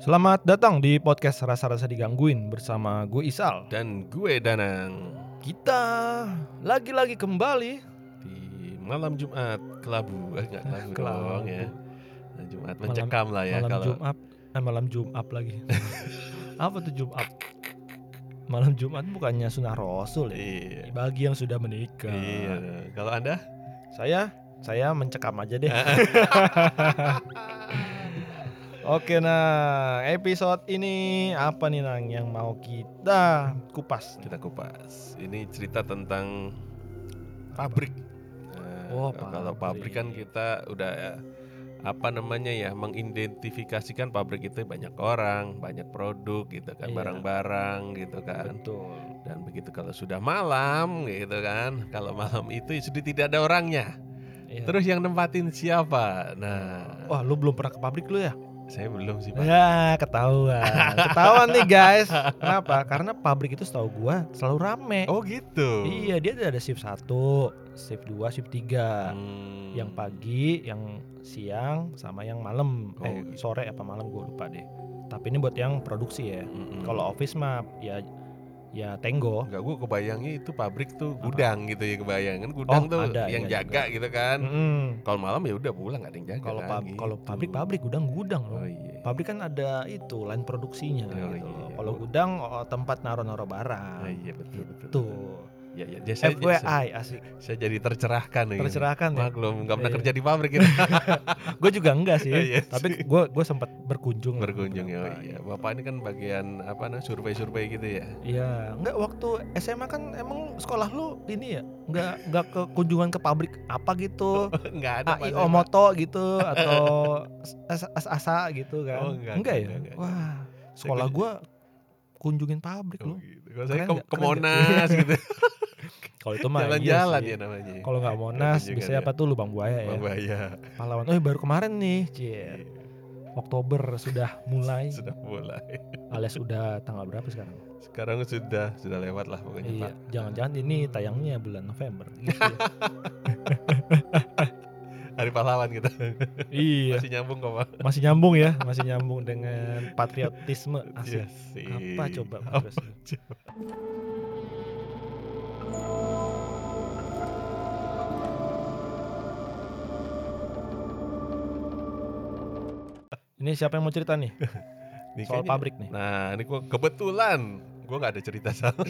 Selamat datang di podcast Rasa-Rasa Digangguin bersama gue Isal dan gue Danang Kita lagi-lagi kembali di malam Jumat kelabu eh enggak kelabu, Kelabu. dong ya Nah, Jumat mencekam lah ya malam kalau Jumat eh, Malam Jumat lagi Apa tuh Jumat? Malam Jumat bukannya sunnah Rasul ya? iya Bagi yang sudah menikah iya kalau anda Saya saya mencekam aja deh Oke nah episode ini apa nih Nang yang mau kita kupas kita kupas ini cerita tentang pabrik Nah, Oh, kalau pabrik kan pabrik. kita udah eh, apa namanya ya mengidentifikasikan pabrik itu banyak orang banyak produk gitu kan Iya. barang-barang gitu kan Betul Dan begitu kalau sudah malam gitu kan, kalau malam itu sudah tidak ada orangnya. Iya. Terus yang nempatin siapa? Nah, Wah lu belum pernah ke pabrik lu ya? saya belum sih pak. Ya ketahuan, ketahuan nih guys. Kenapa? Karena pabrik itu setahu gua selalu rame. Oh gitu. Iya dia tuh ada shift 1, shift 2, shift 3 Hmm. Yang pagi, yang siang, sama yang malam Oh, Eh gitu. sore apa malam gua lupa deh Tapi ini buat yang produksi ya Mm-mm. Kalau office mah ya ya tenggo Enggak, gue kebayangnya itu pabrik tuh gudang gitu ya kebayangan Oh, gudang tuh ada, yang iya jaga gitu kan. Mm-mm. Kalau malam ya udah pulang nggak ada yang jaga. Kalau kan, pab- gitu. kalau pabrik pabrik gudang-gudang loh Oh iya. Pabrik kan ada itu lain produksinya Oh, gitu iya. loh. Kalau gudang oh, tempat naro-naro Ah, barang iya betul betul. Tuh Ya, ya, ya, saya, saya, FYI asik saya jadi tercerahkan. gitu. tercerahkan ya. Maklum, nggak pernah Iya. kerja di pabrik gitu. Gue juga enggak sih, Iya tapi sih. gue gue sempat berkunjung. gitu. lah berkunjung ya. beberapa. Iya. Bapak ini kan bagian apa nah survei-survei gitu ya. Iya, enggak waktu SMA kan emang sekolah lu ini ya, enggak enggak ke kunjungan ke pabrik apa gitu, Enggak ada Pak, AI saya, Pak. Omoto gitu atau as asa gitu kan. Oh, enggak, enggak enggak, ya. enggak, enggak. Wah, sekolah kunjung- gue kunjungin pabrik lu. Oh, gitu. Kalau saya Keren ke, nggak? ke Keren nggak? Monas gitu. Kalau itu mah iya Jalan-jalan sih. ya namanya. Kalau nggak Monas, kunjungan biasanya ya. apa tuh Lubang Buaya ya. Iya. Bang Bahaya. Pahlawan. Oh, baru kemarin nih, cie. Oktober sudah mulai, Iya. Sudah mulai. alias udah tanggal berapa sekarang? Sekarang sudah sudah lewat lah pokoknya Iya, Pak. jangan-jangan ini tayangnya bulan November. Iya. Hari pahlawan kita. iya, Masih nyambung kok Pak. masih nyambung ya, masih nyambung dengan patriotisme. Asik. Iya sih. Oh, Apa coba Apa? Mas? Ini siapa yang mau cerita nih Nih, soal kayaknya- pabrik nih? Nah, ini gua kebetulan gua nggak ada cerita sama.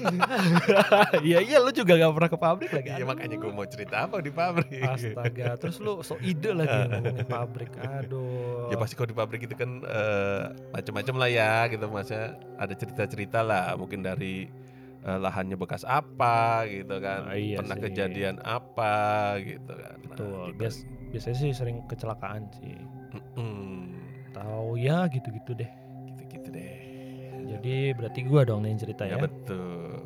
Iya iya, lu juga gak pernah ke pabrik lagi. Iya aduh. makanya gua mau cerita apa di pabrik. Astaga, terus lu so ide lagi ngomongin pabrik. Aduh. Ya pasti kalau di pabrik itu kan eh, macam-macam lah ya gitu masnya ada cerita-cerita lah mungkin dari eh, lahannya bekas apa gitu kan Ah, iya pernah sih. kejadian apa gitu kan Nah, Betul. gitu. Bias- biasanya sih sering kecelakaan sih. Mm-mm. Tahu ya gitu-gitu deh. gitu-gitu deh Jadi berarti gua dong nih yang cerita ya ya. betul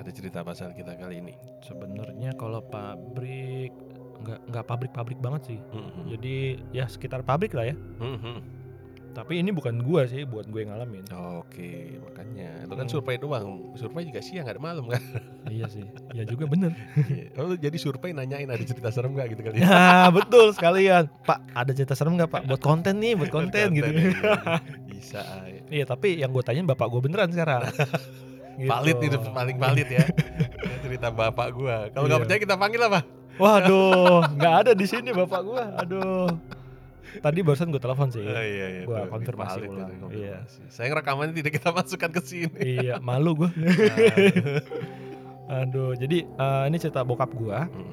ada cerita pasal kita kali ini Sebenarnya kalau pabrik nggak nggak pabrik-pabrik banget sih. Mm-mm. Jadi ya sekitar pabrik lah ya. Mm-mm. Tapi ini bukan gua sih, buat gue yang ngalamin. oke makanya itu kan Mm. survei doang survei juga siang nggak ada malam kan iya sih. Ya juga bener. Iya. oh, lu jadi survei nanyain ada cerita serem nggak gitu kali ya Ya betul sekalian. Pak ada cerita serem nggak Pak? Buat konten nih, buat konten gitu. iya. bisa ay. Iya tapi yang gue tanyain bapak gue beneran sekarang. Gitu. Valid itu paling valid ya. Ini cerita bapak gua. Kalau nggak Iya. percaya kita panggil apa? Waduh, nggak ada di sini bapak gue. Aduh. Tadi barusan gue telepon sih. Oh, iya iya. Gua tuh, konfirmasi valid ulang, itu, konfirmasi. Sayang rekamannya tidak kita masukkan ke sini. iya, malu gue. Aduh, jadi eh, ini cerita bokap gue. Hmm.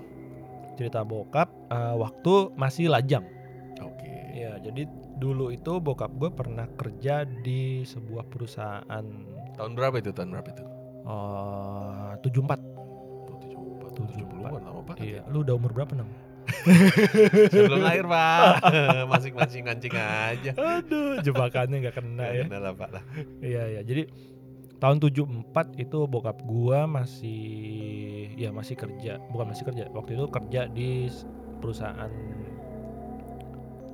Cerita bokap eh, waktu masih lajang. Oke. Iya, jadi dulu itu bokap gue pernah kerja di sebuah perusahaan Tahun berapa itu? Tahun berapa itu? eh, 74. Oh, 74. 74, 70-an lama banget. Iya, ya. lu udah umur berapa nang? Sebelum lahir, Pak. Masing-masing kancing aja. Aduh, jebakannya nggak kena ya. Benar lah, Pak. Lah. Iya, iya. Jadi tahun 74 itu bokap gua masih ya masih kerja, bukan masih kerja. Waktu itu kerja di s- perusahaan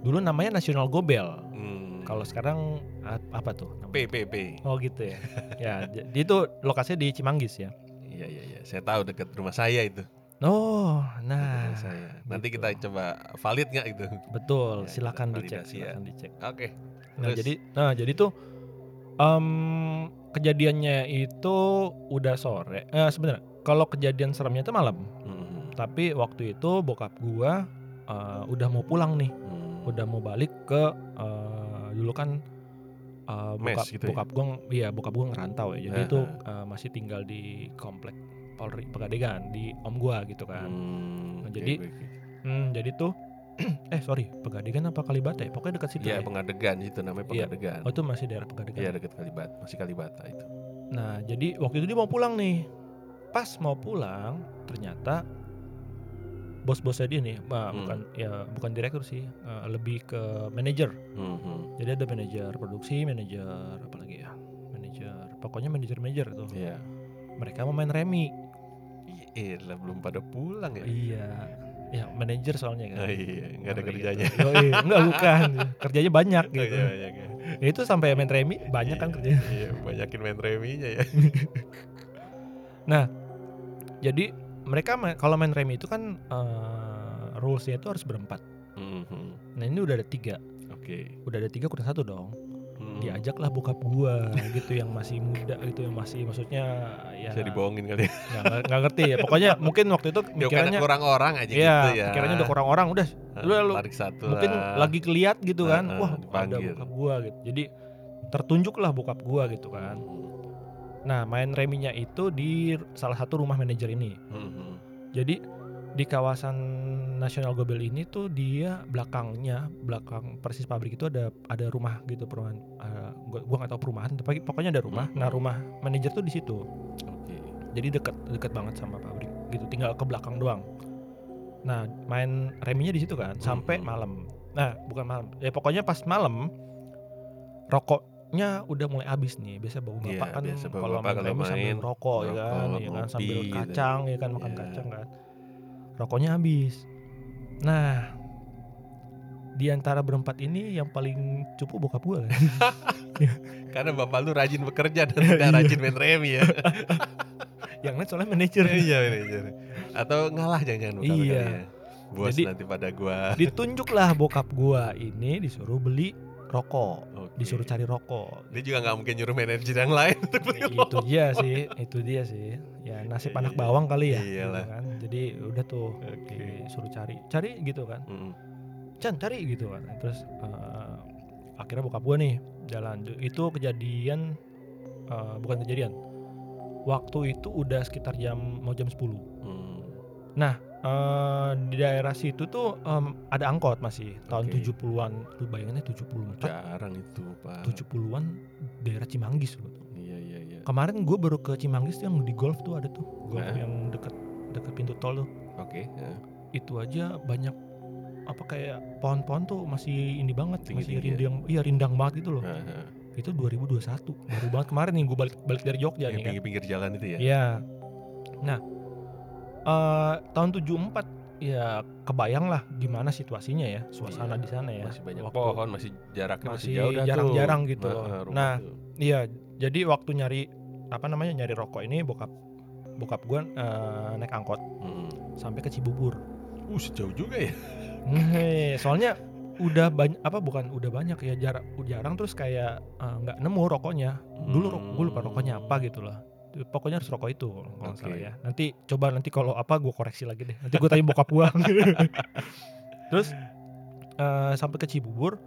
dulu namanya National Gobel. Hmm. Kalau sekarang a- apa tuh? namanya? P P P. Oh gitu ya. ya, j- di- itu lokasinya di Cimanggis ya. Iya iya iya. Saya tahu dekat rumah saya itu. Oh, Dekat nah. rumah saya. Nanti gitu. kita coba valid nggak itu? Betul, Ya, silakan kita dicek, validasi ya. silakan dicek. Oke. Nah, Terus? jadi nah jadi tuh Em, kejadiannya itu udah sore. Eh, Sebenarnya kalau kejadian seremnya itu malam. Mm-mm. Tapi waktu itu bokap gua eh, udah mau pulang nih, Mm. udah mau balik ke eh, dulu kan eh, Mes bokap gitu ya? bokap gua ng- iya bokap gua ngerantau ya. Jadi itu Aha. eh, masih tinggal di komplek Polri Pegadegan di om gua gitu kan. Mm, Nah, oke, jadi- oke, oke. Hmm, jadi tuh eh sorry, Pegadegan apa Kalibata ya? Pokoknya dekat situ Iya ya. pengadegan itu namanya Iya. pengadegan. Oh itu masih daerah Pegadegan. Iya dekat Kalibata, masih Kalibata itu. Nah, jadi waktu itu dia mau pulang nih. Pas mau pulang, ternyata bos-bosnya dia nih, bah, Hmm. bukan ya bukan direktur sih, eh, lebih ke manajer. Mhm. Jadi ada manajer produksi, manajer apa lagi ya? Manajer, pokoknya manajer-manajer tuh. Iya. Mereka mau main remi. eh, Iya lah belum pada pulang ya. Iya. Ya, manajer soalnya kan. Oh, iya, nggak ada Ngeri kerjanya. Gitu. Yoi, nggak bukan. Kerjanya banyak Nggak gitu. ada banyak ya. Ya, itu sampai main remi banyak kan Iya, kerjanya. Iya, banyakin main reminya ya. Jadi mereka ma- kalau main remi itu kan eh, rules-nya itu harus berempat. Mhm. Nah ini udah ada tiga, Oke. udah ada tiga kurang satu dong. Mhm. Diajaklah bokap gua gitu yang masih muda gitu yang masih maksudnya ya Bisa dibohongin kali ya. nggak- nggak nggak ngerti ya. Pokoknya mungkin waktu itu Ya, karena mikirannya kurang orang aja Iya, gitu ya. pikirannya udah kurang orang udah Ah, lu- lu- tarik satu mungkin lah. lagi keliat gitu kan. Heeh, Wah ada dipanggil. bokap gua gitu. Jadi tertunjuklah bokap gua gitu kan. Nah main reminya itu di salah satu rumah manajer ini. Mhm. Jadi di kawasan Nasional Gobel ini tuh dia belakangnya belakang persis pabrik itu ada ada rumah gitu perumahan eh, gua, gua nggak tahu perumahan tapi pokoknya ada rumah Hmm. nah rumah manajer tuh di situ Oke. jadi dekat dekat banget sama pabrik gitu tinggal ke belakang doang nah main reminya di situ kan sampai Hmm. malam nah bukan malam ya pokoknya pas malam rokoknya udah mulai habis nih biasa bawa Iya, bapak kan biasa bawa kalau bapak main kalau remi sambil main rokok ya kan rokok, ya kan sambil ngopi gitu. kacang ya kan makan Iya. kacang kan rokoknya habis nah di antara berempat ini yang paling cupu bokap gua kan Karena bapak lu rajin bekerja dan tidak Iya. rajin main remi ya. yang lain soalnya manajer Iya, manajer. Atau ngalah jangan-jangan bapak Iya. lu kali ya. Bos Jadi- nanti pada gua. ditunjuklah bokap gua ini disuruh beli rokok Oke. disuruh cari Iya. rokok Dia juga nggak mungkin nyuruh manajer yang lain untuk beli itu dia sih itu dia sih ya nasib Iya, anak iya. bawang kali ya gitu Iyalah. kan jadi udah tuh Oke. disuruh cari cari gitu kan Mm-mm. Chan cari gitu kan terus eh, akhirnya bokap gua nih jalan itu kejadian eh, bukan kejadian waktu itu udah sekitar jam mau jam 10 Mm. Eh, di daerah situ tuh em, ada angkot masih tahun Oke. 70-an lu bayanginnya 74 Jarang itu, Pak. 70-an daerah Cimanggis loh. Iya, iya, iya. Kemarin gue baru ke Cimanggis tuh yang di golf tuh ada tuh, golf Nah. yang dekat dekat pintu tol tuh. Oke, ya. Itu aja banyak apa kayak pohon-pohon tuh masih ini banget, masih Tinggi-tinggi ya? rindang, iya rindang banget gitu loh. Ah, ah. Itu 2021, baru banget kemarin nih gue balik balik dari Jogja nih Yang kan. pinggir-pinggir jalan itu ya. Iya. Nah, eh tahun 74 ya kebayang lah gimana situasinya ya, suasana Iya, di sana ya. Masih banyak Waktu- pohon, masih jaraknya masih, masih jauh dah tuh. jarang-jarang gitu Ah, loh. ah, rumah Nah, tuh. Iya, jadi waktu nyari apa namanya nyari rokok ini bokap bokap gue naik angkot Mm. sampai ke Cibubur. Uh, sejauh juga ya. Hehe, Soalnya udah banyak apa bukan udah banyak ya jarak jarang terus kayak eh, nggak nemu rokoknya. Dulu rok gue lupa rokoknya apa gitu lah. Pokoknya harus rokok itu kalau nggak Oke. salah ya. Nanti coba nanti kalau apa gue koreksi lagi deh. Nanti gue tanya bokap gue. terus eh, sampai ke Cibubur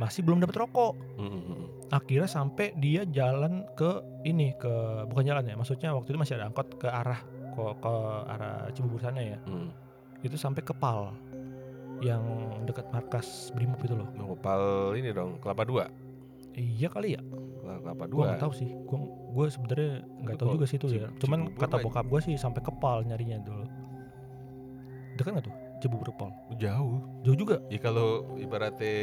masih belum dapat rokok. Mm. akhirnya sampai dia jalan ke ini ke bukan jalan ya maksudnya waktu itu masih ada angkot ke arah ke, ke arah Cibubur sana ya Mm. itu sampai ke Pal yang dekat markas Brimob itu loh Nopal ini dong, kelapa dua. iya kali ya Kel- Kelapa gue dua. nggak tahu sih gue gue sebenarnya nggak Tapi tahu kalau juga sih itu ya Cib- cuman Cibubur kata mah- bokap gue sih sampai ke Pal nyarinya dulu dekat nggak tuh Cibubur ke Pal Jauh. jauh juga Ya kalau ibaratnya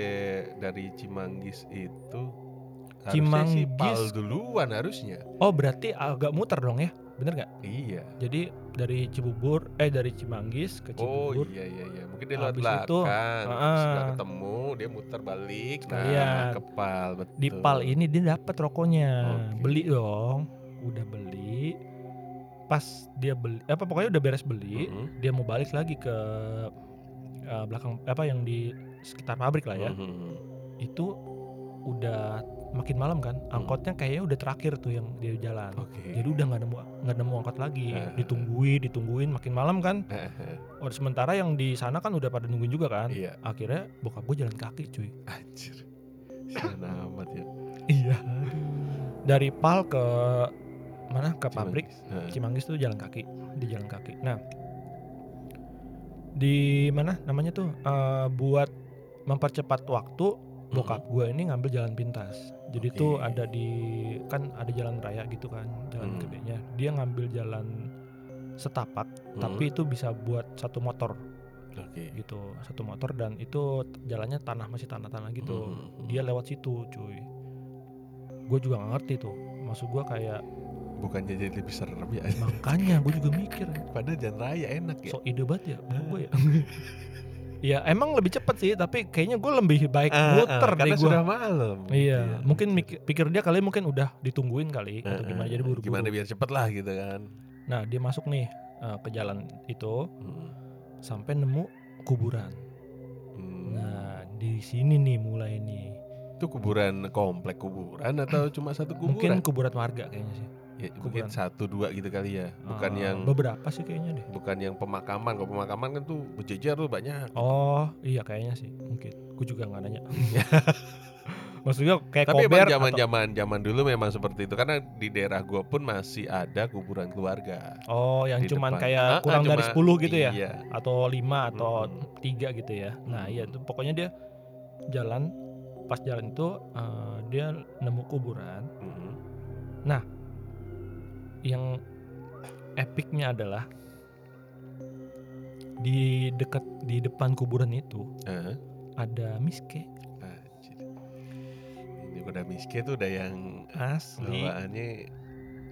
dari Cimanggis itu harusnya sih Cimanggis- Pal duluan harusnya. oh berarti agak muter dong ya bener nggak Iya. jadi dari Cibubur eh dari Cimanggis ke Oh Cibubur iya iya iya. Mungkin dia lewat Habis itu, belakang. terus nggak ah. ketemu, dia muter balik. Sekalian. Nah, kepal betul. Iya. di pal ini dia dapat rokoknya Oke. beli dong udah beli pas dia beli apa pokoknya udah beres beli Mhm, dia mau balik lagi ke Hmm. Mm-hmm. eh, belakang apa yang di sekitar pabrik lah ya mhm, mhm. itu udah makin malam kan angkotnya kayaknya udah terakhir tuh yang dia jalan Hmm. Oke. jadi udah nggak nemu nggak nemu angkot lagi Eh. ditungguin ditungguin makin malam kan Eh, eh, oh, sementara yang di sana kan udah pada nungguin juga kan Iya, akhirnya bokap gue jalan kaki cuy anjir. Sian amat ya. iya dari pal ke mana ke pabrik Cimanggis. Cimanggis tuh jalan kaki, di jalan kaki. Nah, di mana namanya tuh eh, buat mempercepat waktu bokap gue ini ngambil jalan pintas. Jadi tuh Oke. ada di kan ada jalan raya gitu kan, jalan Hmm. gedenya. Dia ngambil jalan setapak, Hmm, tapi itu bisa buat satu motor oke. gitu, satu motor dan itu t- jalannya tanah masih tanah-tanah gitu. Hmm, Dia lewat situ, cuy. Gue juga gak ngerti tuh. Maksud gue kayak bukannya jadi lebih serem ya. makanya gue juga mikir Padahal jalan raya enak ya. so ide banget ya gue ya ya emang lebih cepet sih tapi kayaknya gue lebih baik Ah, ah, muter deh karena gue sudah malam. iya Gitu ya. mungkin mik- pikir dia kali mungkin udah ditungguin kali Eh, atau Gitu, gimana eh, jadi buru-buru Gimana biar cepet lah gitu kan. nah dia masuk nih eh, ke jalan itu Hmm, sampai nemu kuburan hmm. nah di sini nih mulai nih Itu kuburan komplek kuburan atau cuma satu Hmm. mungkin kuburan? kuburan warga kayaknya sih Ya, kuburan. mungkin satu dua gitu kali ya. Bukan Eh, yang beberapa sih kayaknya deh bukan yang pemakaman. Kalau pemakaman kan tuh berjejer tuh banyak. oh iya kayaknya sih mungkin gue juga nggak nanya maksudnya kayak Eh, Tapi kober emang zaman atau- zaman zaman dulu memang seperti itu karena di daerah gua pun masih ada kuburan keluarga. oh yang di cuman depan. Ah, ah, kayak kurang dari cuma- 10 gitu ya Iya. atau lima atau Mm-mm. tiga gitu ya nah Mm-mm. iya tuh pokoknya dia jalan pas jalan itu eh, dia nemu kuburan Mm-mm. yang epicnya adalah di dekat di depan kuburan itu Ah, ada miske anjir. Ini udah miskin tuh udah yang asli bawaannya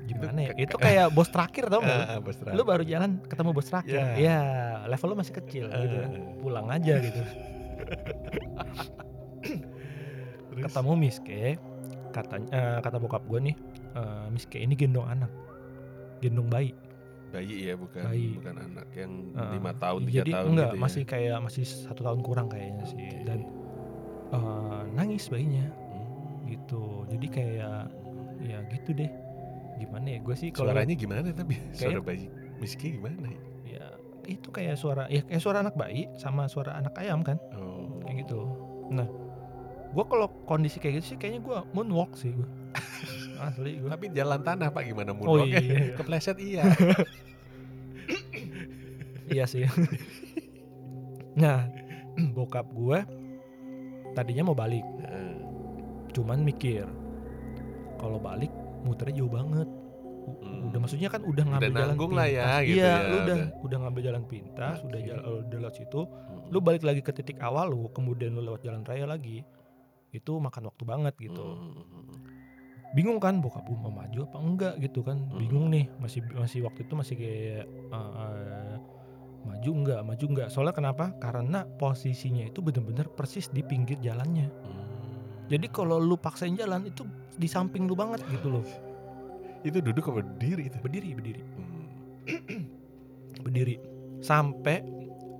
gimana ya ke- itu kayak bos terakhir tau nggak lu? Ah, bos lu baru jalan ketemu bos terakhir Ya. ya level lu masih kecil Ah, gitu kan. pulang aja gitu terus? ketemu Miske katanya eh, kata bokap gue nih eh, Miske ini gendong anak gendong bayi bayi ya bukan Bayi. bukan anak yang Eh, lima tahun tiga jadi tahun enggak gitu ya. masih kayak masih satu tahun kurang kayaknya sih Oke. dan eh, nangis bayinya Hmm. gitu jadi kayak ya gitu deh gimana ya gue sih kalau suaranya gimana tapi suara bayi miskin gimana ya? ya itu kayak suara ya kayak suara anak bayi sama suara anak ayam kan Oh. kayak gitu nah gue kalau kondisi kayak gitu sih kayaknya gue moonwalk sih gue asli gue Tapi jalan tanah Pak gimana Oh, moonwalk? iya. Kepleset iya. Iya sih. nah, bokap gue tadinya mau balik, Heeh. cuman mikir kalau balik muternya jauh banget. U- Hmm. Udah maksudnya kan udah Udah ngambil jalan nanggung lah pintas. ya, gitu iya, ya, lu udah udah. Nah, iya. udah ngambil jalan pintas, udah Oke. jalan udah lewat situ. Lu balik lagi ke titik awal lu, kemudian lu lewat jalan raya lagi. Itu makan waktu banget gitu. Hmm. bingung kan bokap gue mau maju apa enggak gitu kan Mm. bingung nih masih masih waktu itu masih kayak eh, eh, maju enggak maju enggak soalnya kenapa karena posisinya itu bener-bener persis di pinggir jalannya hmm. jadi kalau lu paksain jalan itu di samping lu banget gitu loh itu duduk apa berdiri itu? berdiri berdiri Hmm. berdiri sampai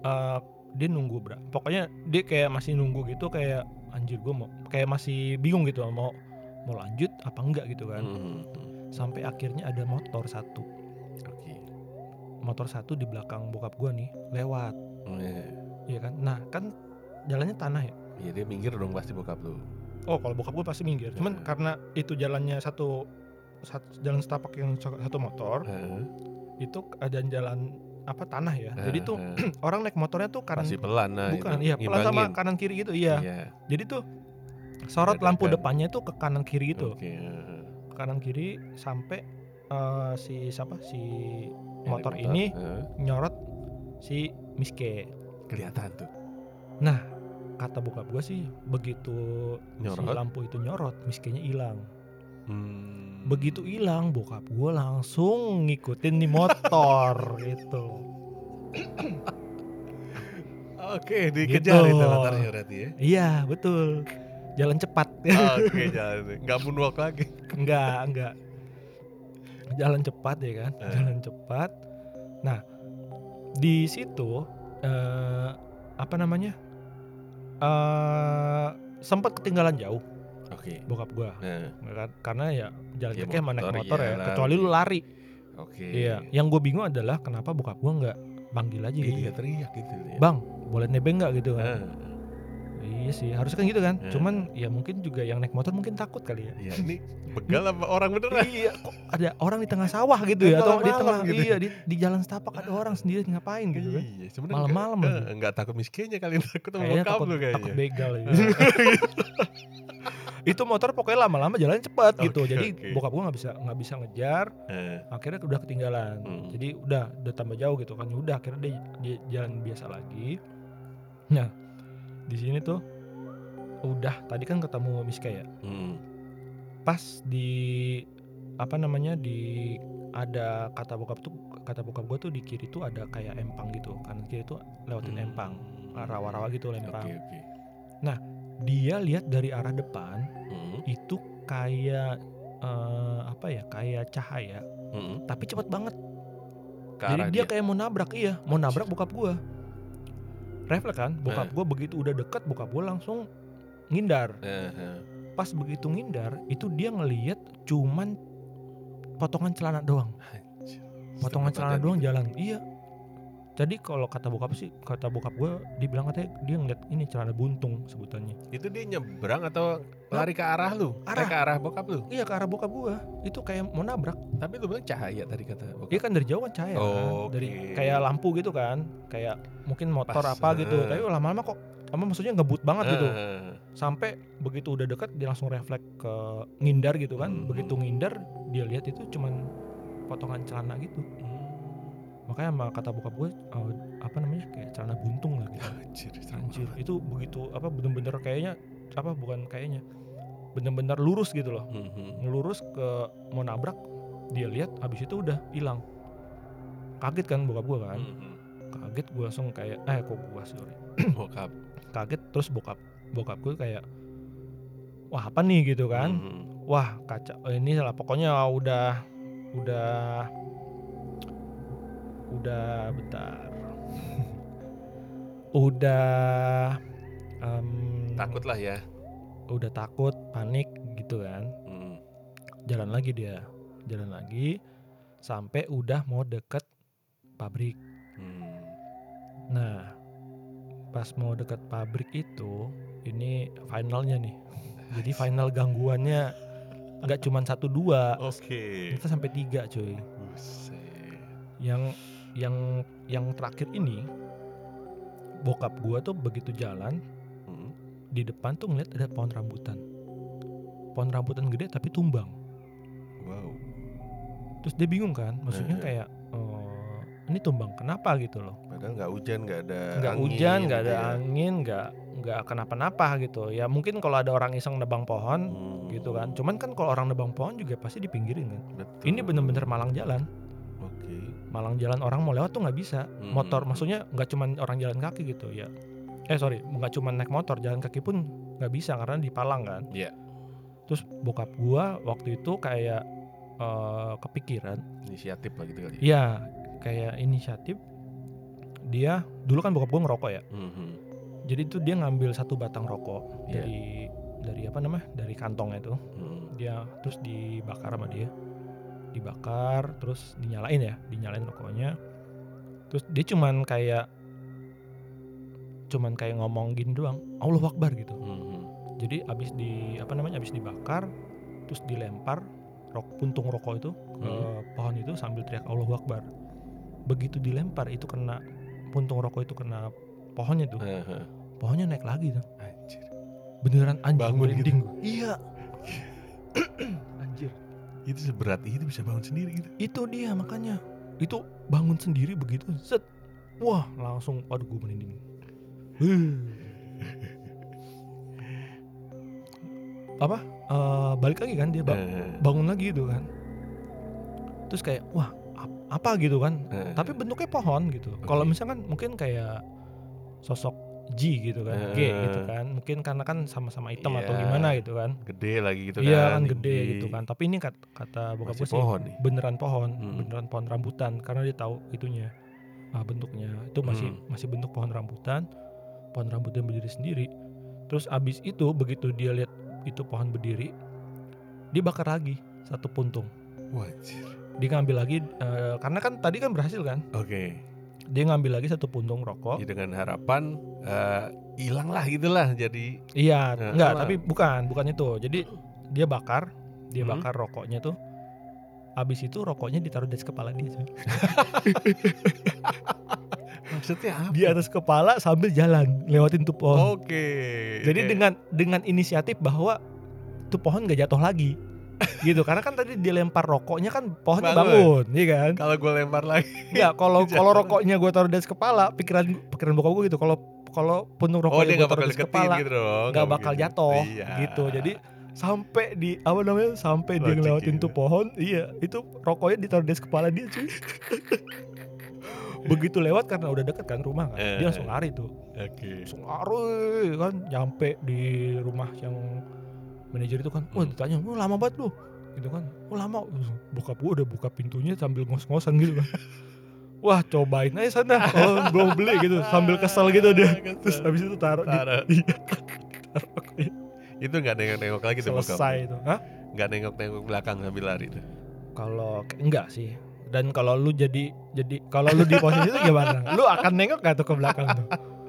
eh, dia nunggu bra pokoknya dia kayak masih nunggu gitu kayak anjir gue mau kayak masih bingung gitu mau mau lanjut apa enggak gitu kan Hmm. sampai akhirnya ada motor satu Oke. motor satu di belakang bokap gua nih lewat Hmm, ya. ya kan nah kan jalannya tanah ya Ya dia minggir dong pasti bokap lu. oh kalau bokap gua pasti minggir cuman Hmm. karena itu jalannya satu, sat- jalan setapak yang so- satu motor Heeh. itu ada jalan apa tanah ya jadi tuh Heeh. orang naik motornya tuh kanan pasti pelan Kan. lah bukan itu, iya pelan sama ngimbangin. kanan kiri gitu iya Iya. jadi tuh sorot Dadakan. lampu depannya tuh ke kanan kiri gitu Oke, heeh. ke kanan kiri sampai eh, si siapa si Nyari motor ini heeh. nyorot si Miske kelihatan tuh. kata bokap gue sih begitu si Nyorot. lampu itu nyorot miskinya hilang Hmm. begitu hilang bokap gue langsung ngikutin nih motor gitu Oke, dikejar Gitu. itu latarnya berarti ya. iya betul jalan cepat Oke, jalan. Enggak moonwalk lagi. enggak enggak jalan cepat ya kan Eh. jalan cepat nah di situ eh, apa namanya eh sempat ketinggalan jauh Oke. Oke. bokap gua Nah, Kar- karena ya jalan Iya, kaki sama naik motor, motor ya iyalah. kecuali lu lari oke. iya yang gue bingung adalah kenapa bokap gua nggak panggil aja gitu Iya, teriak gitu ya. bang boleh nebeng nggak gitu kan Ah, iya sih harusnya kan gitu kan Iya. cuman ya mungkin juga yang naik motor mungkin takut kali ya Iya, ini begal sama orang beneran. iya kok ada orang di tengah sawah gitu ya atau di Malam-malam tengah gitu. iya di, di jalan setapak ada orang sendiri ngapain gitu kan Iya, sebenarnya Malam-malam enggak, lagi. eh, enggak takut miskinnya kali takut Iya, sama kayaknya bokap takut, lu takut kayaknya. begal gitu. itu motor pokoknya lama-lama jalan cepet gitu Oke, jadi oke. bokap gua nggak bisa nggak bisa ngejar Eh, akhirnya udah ketinggalan Hmm. jadi udah udah tambah jauh gitu kan udah akhirnya dia, dia jalan biasa lagi nah di sini tuh udah tadi kan ketemu Miska ya mm, pas di apa namanya di ada kata bokap tuh kata bokap gue tuh di kiri tuh ada kayak empang gitu kanan kiri tuh lewatin mm. empang rawa-rawa gitu Oke, lempang oke. dia lihat dari arah depan Mm, itu kayak eh, apa ya kayak cahaya mm, tapi cepet banget Ke Jadi arah dia, dia. kayak mau nabrak iya, mau nabrak Anjir. bokap gua. Refleks kan, bokap gua begitu udah deket bokap gua langsung ngindar. Eh, eh. Pas begitu ngindar, itu dia ngeliat cuman potongan celana doang. Anjir. Potongan Setengah celana badan doang gitu. jalan. Iya. Jadi kalau kata bokap sih, kata bokap gua dibilang katanya dia ngeliat ini celana buntung sebutannya. Itu dia nyebrang atau lari ke arah lu? Arah. Eh, ke arah bokap lu. Iya ke arah bokap gua. Itu kayak mau nabrak. Tapi lu bilang cahaya tadi kata bokap. Iya kan dari jauh kan cahaya kan. Oke. dari kayak lampu gitu kan, kayak mungkin motor Pas, apa gitu. eh. Tapi lama-lama kok apa maksudnya ngebut banget Eh, gitu. eh. sampai begitu udah dekat dia langsung refleks ke ngindar gitu kan Mhm. begitu ngindar dia lihat itu cuman potongan celana gitu Eh, makanya sama kata bokap gue eh, apa namanya kayak celana buntung lah gitu Anjir, serem anjir banget. itu begitu apa bener-bener kayaknya apa bukan kayaknya bener-bener lurus gitu loh Mhm. ngelurus ke mau nabrak dia lihat habis itu udah hilang kaget kan bokap gue kan Mhm. kaget gue langsung kayak eh kok gue sorry Bokap. kaget terus bokap bokap gue kayak wah apa nih gitu kan Mhm. wah kaca eh, ini lah pokoknya udah udah udah bentar udah em, Takut lah ya. udah takut panik gitu kan Mhm. jalan lagi dia jalan lagi sampai udah mau deket pabrik Mhm. nah pas mau deket pabrik itu ini finalnya nih jadi final gangguannya nggak cuman satu dua Oke. Ternyata sampai tiga cuy. Buset. Yang yang yang terakhir ini bokap gua tuh begitu jalan Mhm. di depan tuh ngeliat ada pohon rambutan. Pohon rambutan gede tapi tumbang. Wow. Terus dia bingung kan, maksudnya Eh. kayak "Eh, ini tumbang kenapa gitu loh? Padahal nggak hujan, nggak ada Nggak angin hujan, nggak gitu ada ya. angin, nggak nggak kenapa-napa gitu. Ya mungkin kalau ada orang iseng nebang pohon Hmm, gitu kan. Cuman kan kalau orang nebang pohon juga pasti dipinggirin kan. betul. Ini bener-bener malang jalan. Oke. malang jalan orang mau lewat tuh nggak bisa Mhm. motor maksudnya nggak cuman orang jalan kaki gitu ya eh sorry nggak cuman naik motor jalan kaki pun nggak bisa karena dipalang kan Iya. terus bokap gua waktu itu kayak eh, kepikiran Inisiatif lah gitu kali. ya kayak inisiatif dia dulu kan bokap gua ngerokok ya Mhm. jadi itu dia ngambil satu batang rokok Iya. dari dari apa namanya dari kantongnya itu Mhm. dia terus dibakar sama dia dibakar terus dinyalain ya dinyalain rokoknya terus dia cuman kayak cuman kayak ngomong gini doang Allah Akbar gitu Mhm. jadi abis di apa namanya abis dibakar terus dilempar rok puntung rokok itu ke Hmm. pohon itu sambil teriak Allah Akbar begitu dilempar itu kena puntung rokok itu kena pohonnya tuh Aha. pohonnya naik lagi tuh Anjir. beneran anjing Bangun gitu. merinding gua. iya anjir Itu seberat itu bisa bangun sendiri gitu. itu dia makanya itu bangun sendiri begitu set wah langsung aduh gue merinding Huh. apa Eh, balik lagi kan dia ba- Eh, bangun lagi gitu kan terus kayak wah ap- apa gitu kan eh, tapi bentuknya pohon gitu kalau Oke. misalkan mungkin kayak sosok G gitu kan G gitu Eh. kan mungkin karena kan sama-sama hitam atau Iya. gimana gitu kan gede lagi gitu kan. iya kan gede tinggi. gitu kan tapi ini kata, kata bokap Masih gue sih pohon nih. beneran pohon, Hmm. beneran pohon rambutan karena dia tahu itunya ah, bentuknya itu masih Hmm. masih bentuk pohon rambutan, pohon rambutan berdiri sendiri. Terus abis itu begitu dia lihat itu pohon berdiri dibakar lagi satu puntung Wajir. dia ngambil lagi eh, karena kan tadi kan berhasil kan Oke. dia ngambil lagi satu puntung rokok Ya, dengan harapan eh, hilanglah gitulah jadi iya Nah, enggak sama. tapi bukan bukan itu jadi dia bakar dia Hmm. bakar rokoknya tuh abis itu rokoknya ditaruh di atas kepala dia coy. maksudnya apa? di atas kepala sambil jalan lewatin tuh pohon Oke. Jadi Kayak- dengan dengan inisiatif bahwa tuh pohon gak jatuh lagi. gitu karena kan tadi dilempar rokoknya kan pohonnya Bangun. bangun, iya kan? kalau gue lempar lagi. Enggak, kalau Jatuh. kalau rokoknya gue taruh di atas kepala, pikiran pikiran bokap gue gitu. Kalau kalau puntung Oh rokoknya dia gue nggak taruh bakal di atas deketin kepala, gitu dong. nggak bakal mungkin. jatuh Iya. gitu. Jadi sampai di apa namanya sampai dia Logik ngelewatin gitu. tuh pohon, iya itu rokoknya ditaruh di atas kepala dia cuy. Begitu lewat karena udah deket kan rumah kan, Eh. dia langsung lari tuh Oke. langsung lari kan nyampe di rumah yang manajer itu kan wah Hmm. ditanya lu lama banget lu gitu kan oh lama bokap gua udah buka pintunya sambil ngos-ngosan gitu kan wah cobain aja sana kalau belum beli gitu sambil kesel gitu dia terus habis itu taruh di Ah, Taruh. Iya, itu nggak nengok-nengok lagi tuh bokap. selesai itu Hah? Nggak nengok-nengok belakang sambil lari tuh. kalau enggak sih dan kalau lu jadi jadi kalau lu di posisi itu gimana lu akan nengok gak tuh ke belakang tuh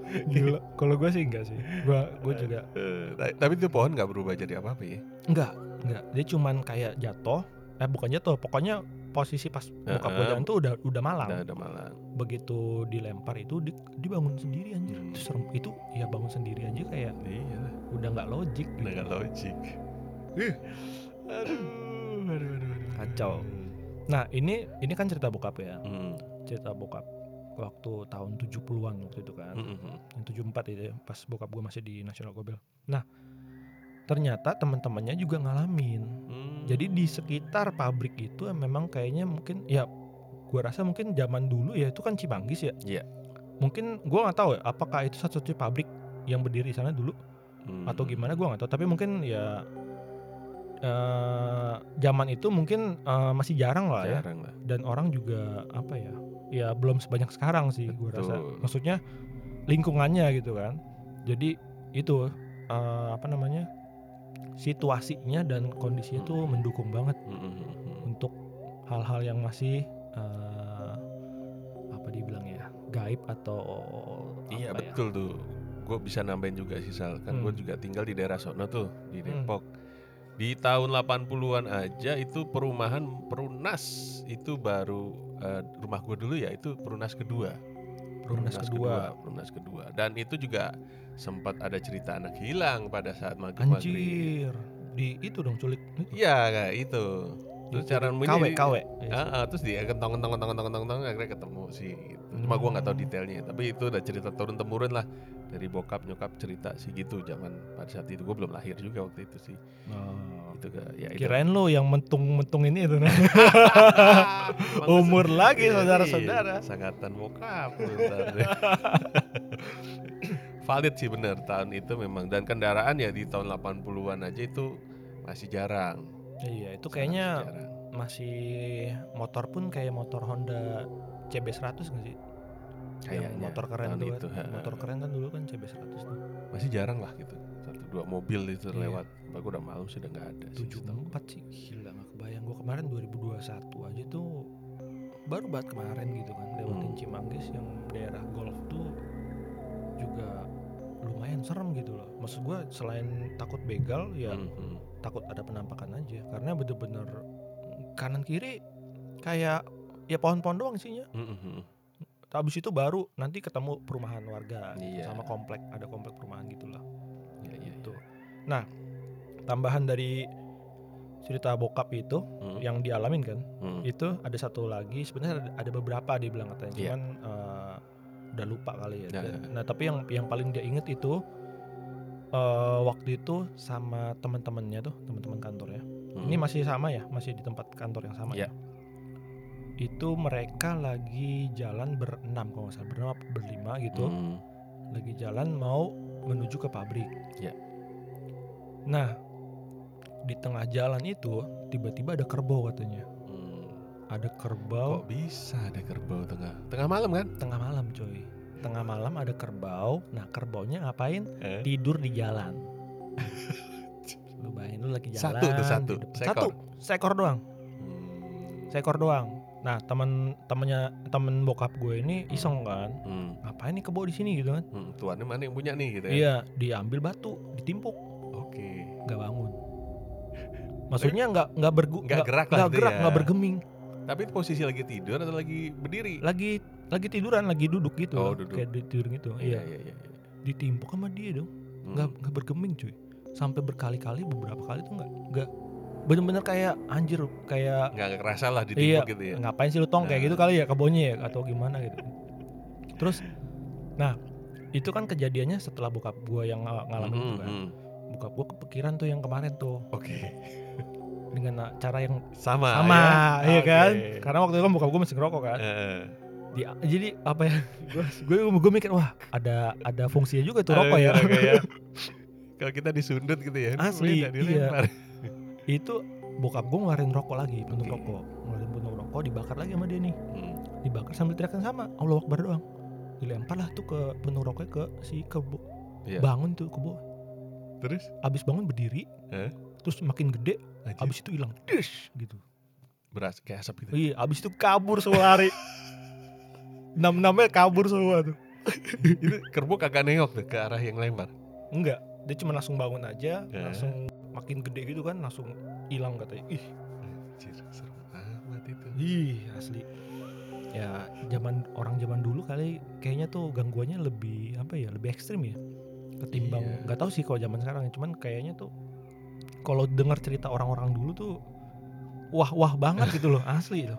Gila, kalau gue sih enggak sih gua gue juga Eh, ta- tapi itu pohon nggak berubah jadi apa apa ya? Enggak, enggak. Dia cuman kayak jatuh. Eh bukan jatuh, pokoknya posisi pas bokap gue Heeh. jalan tuh udah udah malam. Nah, Udah udah malang. Begitu dilempar itu di- dibangun sendiri anjir. Hmm. Itu serem. Itu ya bangun sendiri aja kayak Iya. udah nggak logik gitu. Udah nggak logik. Ih. Aduh. Aduh. Aduh. aduh. Kacau. Nah, ini ini kan cerita bokap ya. Hmm. Cerita bokap waktu tahun 70-an waktu itu kan. Hmm, hmm. Yang 74 itu ya, pas bokap gue masih di National Gobel. Nah, ternyata teman-temannya juga ngalamin. Hmm. Jadi di sekitar pabrik itu memang kayaknya mungkin ya gua rasa mungkin zaman dulu ya itu kan Cimanggis ya. Iya. Mungkin gua nggak tahu ya, apakah itu satu-satunya pabrik yang berdiri di sana dulu Hmm. atau gimana gua nggak tahu tapi mungkin ya eh zaman itu mungkin eh, masih jarang lah ya Jarang lah. dan orang juga apa ya ya belum sebanyak sekarang sih gue rasa Betul. maksudnya lingkungannya gitu kan jadi itu eh, apa namanya situasinya dan kondisinya tuh mendukung banget Hmm, hmm, hmm, hmm. untuk hal-hal yang masih eh, apa dibilangnya ya gaib atau Iya apa ya? betul tuh. Gue bisa nambahin juga sih Sal. Kan gue Hmm. juga tinggal di daerah sono tuh di Hmm. Depok. Di tahun 80-an aja itu perumahan Perunas itu baru eh, rumah gue dulu ya itu Perunas kedua. Perunas kedua. Perunas kedua. Dan itu juga sempat ada cerita anak hilang pada saat maghrib-maghrib. anjir di itu dong culik Iya kayak itu. Terus Itu cara di- bunyi- kawe kawe Ah, ah, terus dia kentong kentong kentong kentong kentong kentong, akhirnya ketemu sih gitu. Cuma gua nggak tahu Hmm. detailnya, tapi itu udah cerita turun temurun lah dari bokap nyokap cerita sih gitu zaman pada saat itu gua belum lahir juga waktu itu sih. Oh. Itu ke ya itu. kirain lo yang mentung-mentung ini itu nah. Emang umur kesel- lagi Iya, saudara-saudara iya, Sangatan bokap. lu ntar deh. Valid sih bener tahun itu memang dan kendaraan ya di tahun 80-an aja itu masih jarang. iya itu Sangat kayaknya masih jarang. masih motor pun kayak motor Honda CB 100 nggak sih kayaknya yang motor keren tahun tuh itu, kan. ha. motor keren kan dulu kan CB 100 tuh masih jarang lah gitu satu dua mobil itu Iya. lewat Mbak udah malam sudah nggak ada sih tujuh Iya, setahu empat sih gila nggak kebayang gue kemarin 2021 aja tuh baru banget kemarin gitu kan lewatin Hmm. Cimanggis yang daerah golf tuh juga lumayan serem gitu loh maksud gue selain takut begal gua. ya Mhm. takut ada penampakan aja karena bener-bener kanan kiri kayak ya pohon-pohon doang isinya Mhm. habis itu baru nanti ketemu perumahan warga Iya. sama komplek ada komplek perumahan gitu lah Iya, iya, gitu nah tambahan dari cerita bokap itu Mhm. yang dialamin kan Mhm. itu ada satu lagi sebenarnya ada, ada beberapa dia bilang katanya Iya. cuman eh, udah lupa kali ya Ya, ya, nah tapi yang yang paling dia inget itu eh, waktu itu sama teman-temannya tuh teman-teman kantornya Mhm. ini masih sama ya masih di tempat kantor yang sama Iya. ya itu mereka lagi jalan berenam kalau nggak salah berenam apa berlima gitu Mhm. lagi jalan mau menuju ke pabrik. Ya. Nah, di tengah jalan itu tiba-tiba ada kerbau katanya. Mhm. Ada kerbau kok bisa ada kerbau tengah tengah malam kan tengah malam, coy. Tengah malam ada kerbau. Nah, kerbaunya ngapain? Eh, Tidur di jalan. Lu lagi jalan. Satu tuh, satu. di depan. Sekor. Satu, sekor doang. Sekor doang. Nah, teman temennya temen bokap gue ini iseng kan. Hmm, Ngapain nih kebo di sini gitu kan? hmm, tuannya mana yang punya nih gitu ya? Iya, diambil batu, ditimpuk, Oke. nggak bangun. Maksudnya nggak nggak bergu Nggak gerak lah nggak gitu gerak, ya. nggak bergeming. Tapi posisi lagi tidur atau lagi berdiri? Lagi lagi tiduran, lagi duduk gitu. Oh, loh, duduk. Kayak di- tidur gitu. Iya, iya, iya. iya. ditimpuk sama dia dong. Hmm. Nggak nggak bergeming, cuy. Sampai berkali-kali beberapa kali tuh nggak nggak bener-bener kayak anjir kayak Hmm. nggak kerasa lah Iya, ditimpuk gitu ya. ngapain sih lu tong kayak Nah. gitu kali ya kebonnya ya atau gimana gitu terus nah itu kan kejadiannya setelah bokap gua yang ng- ngalamin itu Hmm, kan hmm. bokap gua kepikiran tuh yang kemarin tuh Oke. dengan na- cara yang Sama. sama ya? iya kan Oke. karena waktu itu kan bokap gua masih ngerokok kan Eh, Di- jadi apa ya gua gua gua mikir wah ada ada fungsinya juga tuh ada rokok ya rokok ya. Kalau kita disundut gitu ya. Asli, iya. beda, dilempar. itu bokap gua ngeluarin rokok lagi puntung Oke. rokok ngeluarin puntung rokok dibakar lagi sama dia nih Hmm. dibakar sambil teriakan sama Allah Akbar doang dilempar lah tuh ke penuh rokoknya ke si kebo Iya. bangun tuh kebo Terus? abis bangun berdiri Eh? terus makin gede Anjir, abis itu hilang Dish, gitu beras kayak asap gitu. iya abis itu kabur semua lari enam enamnya kabur semua tuh itu kerbau kagak nengok tuh ke arah yang lempar. enggak dia cuma langsung bangun aja Eh. langsung makin gede gitu kan langsung hilang katanya ih Anjir, serem amat itu. ih asli ya zaman orang zaman dulu kali kayaknya tuh gangguannya lebih apa ya lebih ekstrim ya ketimbang Iya. nggak tahu sih kalau zaman sekarang ya cuman kayaknya tuh kalau dengar cerita orang-orang dulu tuh wah wah banget gitu loh asli loh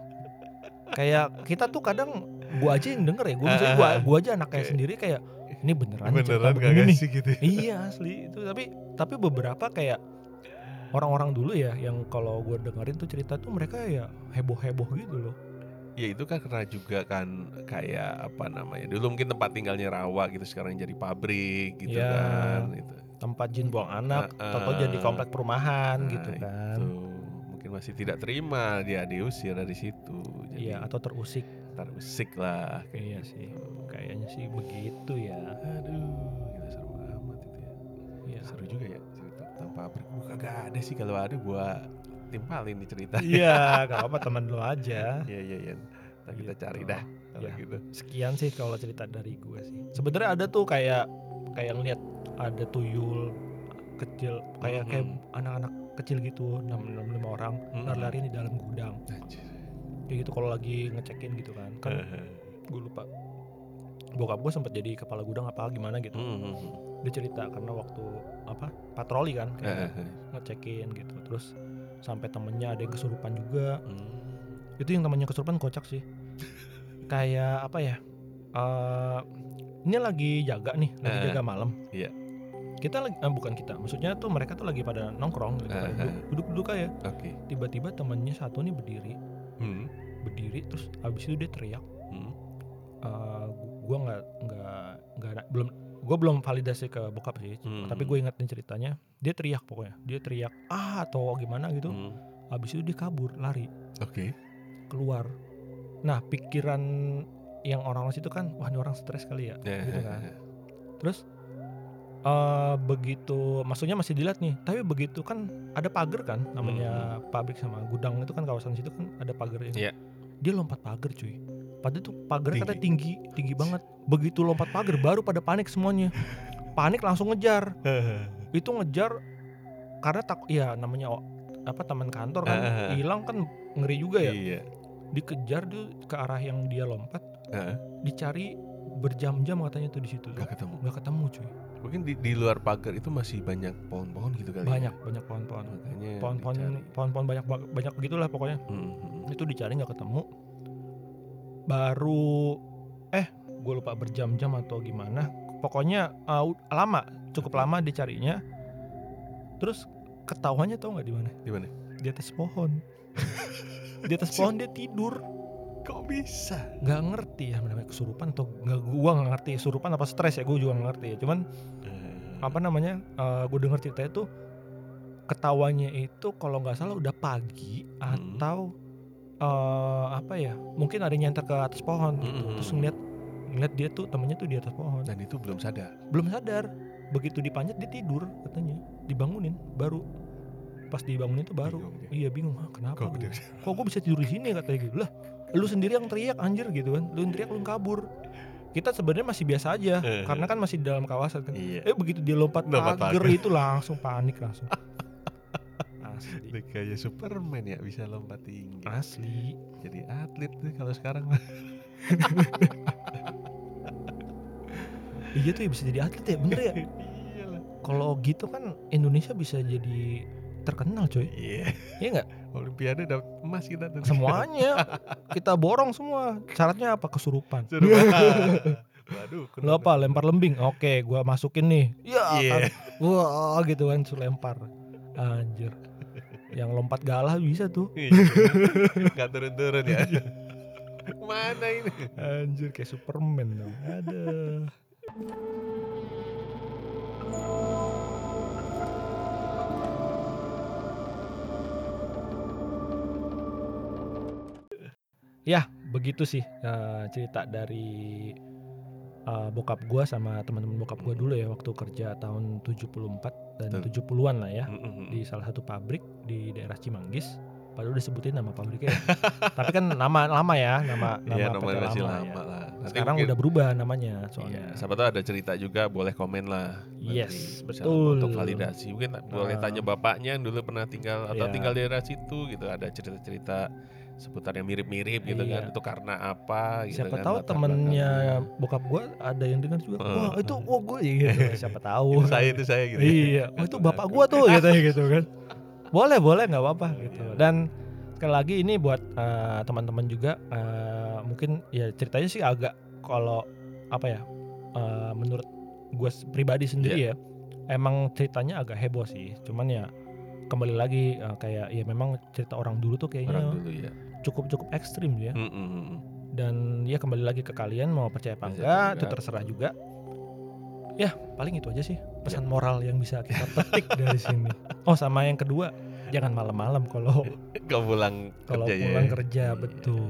kayak kita tuh kadang gua aja yang denger ya gua misalnya gua gua aja anaknya Kayak- sendiri kayak ini beneran cerita Beneran begini kagak nih?" sih gitu. ya? iya asli itu tapi tapi beberapa kayak orang-orang dulu ya yang kalau gue dengerin tuh cerita tuh mereka ya heboh heboh gitu loh Ya itu kan karena juga kan kayak apa namanya. Dulu mungkin tempat tinggalnya rawa gitu, sekarang jadi pabrik gitu Ya. kan. Gitu. tempat jin buang anak Ah, ah. atau jadi komplek perumahan Nah, gitu kan itu. mungkin masih tidak terima dia diusir dari situ. Jadi iya atau terusik ntar usik lah kayak Iya gitu. sih. kayaknya sih begitu ya Aduh, gila serem amat itu ya. Iya. Seru juga ya cerita tentang pabrik. Gua kagak ada sih kalau ada gua timpalin nih cerita. iya gak apa teman lu aja Iya iya iya. Ntar kita Gitu. cari dah kalau Ya. gitu. sekian sih kalau cerita dari gue sih sebenarnya ada tuh kayak kayak ngeliat ada tuyul kecil kayak kayak Mhm. anak-anak kecil gitu enam enam lima orang Mhm. lari-lari di dalam gudang Anjir. kayak gitu kalau lagi ngecekin gitu kan kan gue lupa bokap gue sempet jadi kepala gudang apa gimana gitu Mhm. dia cerita karena waktu apa patroli kan Eh, kayak ngecekin gitu terus sampai temennya ada yang kesurupan juga itu yang temennya kesurupan kocak sih kayak apa ya eh ini lagi jaga nih lagi Eh, jaga malam iya. kita lagi eh, bukan kita maksudnya tuh mereka tuh lagi pada nongkrong lagi pada Eh, duduk- duduk-duduk aja Oke. tiba-tiba temennya satu nih berdiri Hmm, berdiri terus habis itu dia teriak hmm. eh gue nggak nggak nggak na- belum gue belum validasi ke bokap sih Hmm. tapi gue ingetin ceritanya dia teriak pokoknya dia teriak ah atau gimana gitu Hmm. habis itu dia kabur lari Oke. keluar nah pikiran yang orang-orang situ kan wah ini orang stres kali ya gitu kan terus eh begitu maksudnya masih dilihat nih tapi begitu kan ada pagar kan namanya pabrik sama gudang itu kan kawasan situ kan ada pagar ini Hmm. Iya. dia lompat pagar cuy padahal tuh pagar katanya tinggi tinggi banget begitu lompat pagar baru pada panik semuanya panik langsung ngejar itu ngejar karena tak ya namanya o- apa teman kantor kan Ah. hilang kan ngeri juga ya Iya. dikejar tuh ke arah yang dia lompat Heeh. dicari berjam-jam katanya tuh di situ tuh Gak ketemu. nggak ketemu cuy Mungkin di, di luar pagar itu masih banyak pohon-pohon gitu kali. ya? banyak banyak pohon-pohon Makanya pohon-pohon iya, dicari. pohon-pohon banyak ba- banyak begitulah pokoknya Hmm, hmm, itu dicari nggak ketemu baru eh gue lupa berjam-jam atau gimana pokoknya uh, u- lama cukup lama dicarinya terus ketahuannya tau nggak di mana hmm. Di mana? di atas pohon di atas pohon dia tidur Kok bisa? nggak ngerti ya namanya kesurupan atau nggak gua nggak ngerti kesurupan apa stres ya gue juga nggak ngerti ya cuman apa namanya gue denger ceritanya tuh ketawanya itu kalau nggak salah udah pagi Hmm. atau eh, apa ya mungkin ada yang nyenter ke atas pohon gitu Hmm. terus ngeliat ngeliat dia tuh temennya tuh di atas pohon Dan itu belum sadar. belum sadar begitu dipanjat dia tidur katanya dibangunin baru pas dibangun itu baru Bingung dia. iya bingung "Hah, kenapa Kok gua? gede? kok gue bisa tidur di sini katanya gitu lah lu sendiri yang teriak anjir gitu kan lu yang teriak lu yang kabur kita sebenarnya masih biasa aja Eh. karena kan masih di dalam kawasan kan Iya. eh begitu dia lompat Lompat pagar pagar. itu langsung panik langsung asli Dia kayak Superman ya bisa lompat tinggi. asli Jadi atlet tuh kalau sekarang mah. iya tuh ya bisa jadi atlet ya bener ya Iyalah. kalau gitu kan Indonesia bisa jadi terkenal coy Iya. iya nggak Olimpiade dapat emas kita tuh. semuanya kita borong semua syaratnya apa kesurupan Suruh banget. Waduh. kena lo apa lempar lembing oke gua masukin nih ya Iya. kan. wah gitu kan suruh lempar anjir yang lompat galah bisa tuh Iya. Gak turun-turun ya. Iya. Mana ini? anjir kayak Superman dong ada ya begitu sih eh, cerita dari eh, bokap gua sama teman-teman bokap gua dulu ya waktu kerja tahun 74 dan Betul. 70-an lah ya di Mm-mm. salah satu pabrik di daerah Cimanggis. Padahal udah sebutin nama pabriknya. Tapi kan nama lama ya, nama nama Iya PT nomor masih lama ya. lama lah. Nanti Sekarang mungkin- udah berubah namanya Iya, soalnya. siapa tahu ada cerita juga boleh komen lah. nanti Yes, bisa betul. Untuk validasi mungkin boleh Ah. tanya bapaknya yang dulu pernah tinggal atau Iya. tinggal di daerah situ gitu ada cerita-cerita seputar yang mirip-mirip gitu Iya. kan itu karena apa gitu siapa kan, tahu latar temennya belakangnya. bokap gua ada yang dengar juga. Heeh. Wah itu wah gue gitu. Siapa tahu. itu saya itu saya gitu. ya. iya, wah itu bapak gua tuh gitu gitu kan. Boleh boleh nggak apa-apa gitu. Iya. Dan sekali lagi ini buat eh, teman-teman juga eh, mungkin ya ceritanya sih agak kalau apa ya eh, menurut gua s- pribadi Iya. sendiri ya emang ceritanya agak heboh sih. Cuman ya kembali lagi eh, kayak ya memang cerita orang dulu tuh Orang kayaknya dulu ya. cukup cukup ekstrim ya. Mm, mm, mm, mm. Dan ya kembali lagi ke kalian mau percaya apa Percaya enggak apa itu enggak. terserah juga. Ya paling itu aja sih pesan Ya. moral yang bisa kita petik dari sini. Oh sama yang kedua jangan malam-malam kalau Kau pulang kalau kerja ya. pulang kerja Iya. betul.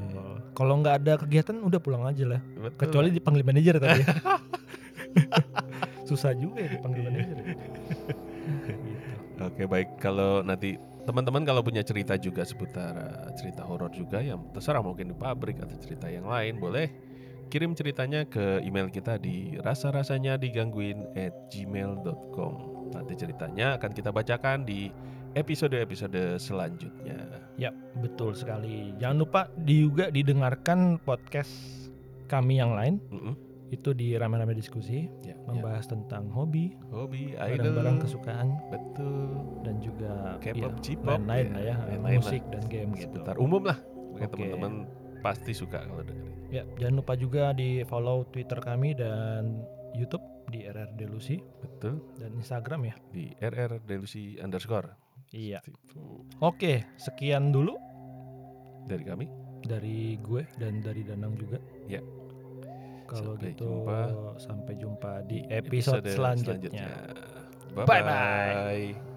Kalau nggak ada kegiatan udah pulang aja lah. Betul. Kecuali dipanggil manajer tadi. ya. Susah juga ya dipanggil Iya. manajer. ya. Gitu. Oke baik kalau nanti teman-teman kalau punya cerita juga seputar eh, cerita horor juga yang terserah mungkin di pabrik atau cerita yang lain boleh kirim ceritanya ke email kita di rasa-rasanya digangguin at gmail.com nanti ceritanya akan kita bacakan di episode-episode selanjutnya Ya betul sekali. Jangan lupa di- juga didengarkan podcast kami yang lain Mm-mm. itu di rame-rame diskusi Ya, ya. membahas tentang hobi, hobi idol barang-barang kesukaan betul dan juga K-pop, ya, J-pop, lain-lain ya, lah ya, lain-lain musik dan game gitu. seputar umum lah Mungkin Oke. teman-teman pasti suka kalau dengerin Ya, jangan lupa juga di follow Twitter kami dan YouTube di RRD Lucy betul dan Instagram ya. di rr delusi underscore Iya. Itu Oke, sekian dulu dari kami dari gue dan dari Danang juga. Ya. Kalau Sampai gitu jumpa. sampai jumpa di episode, selanjutnya. Bye Bye-bye. bye.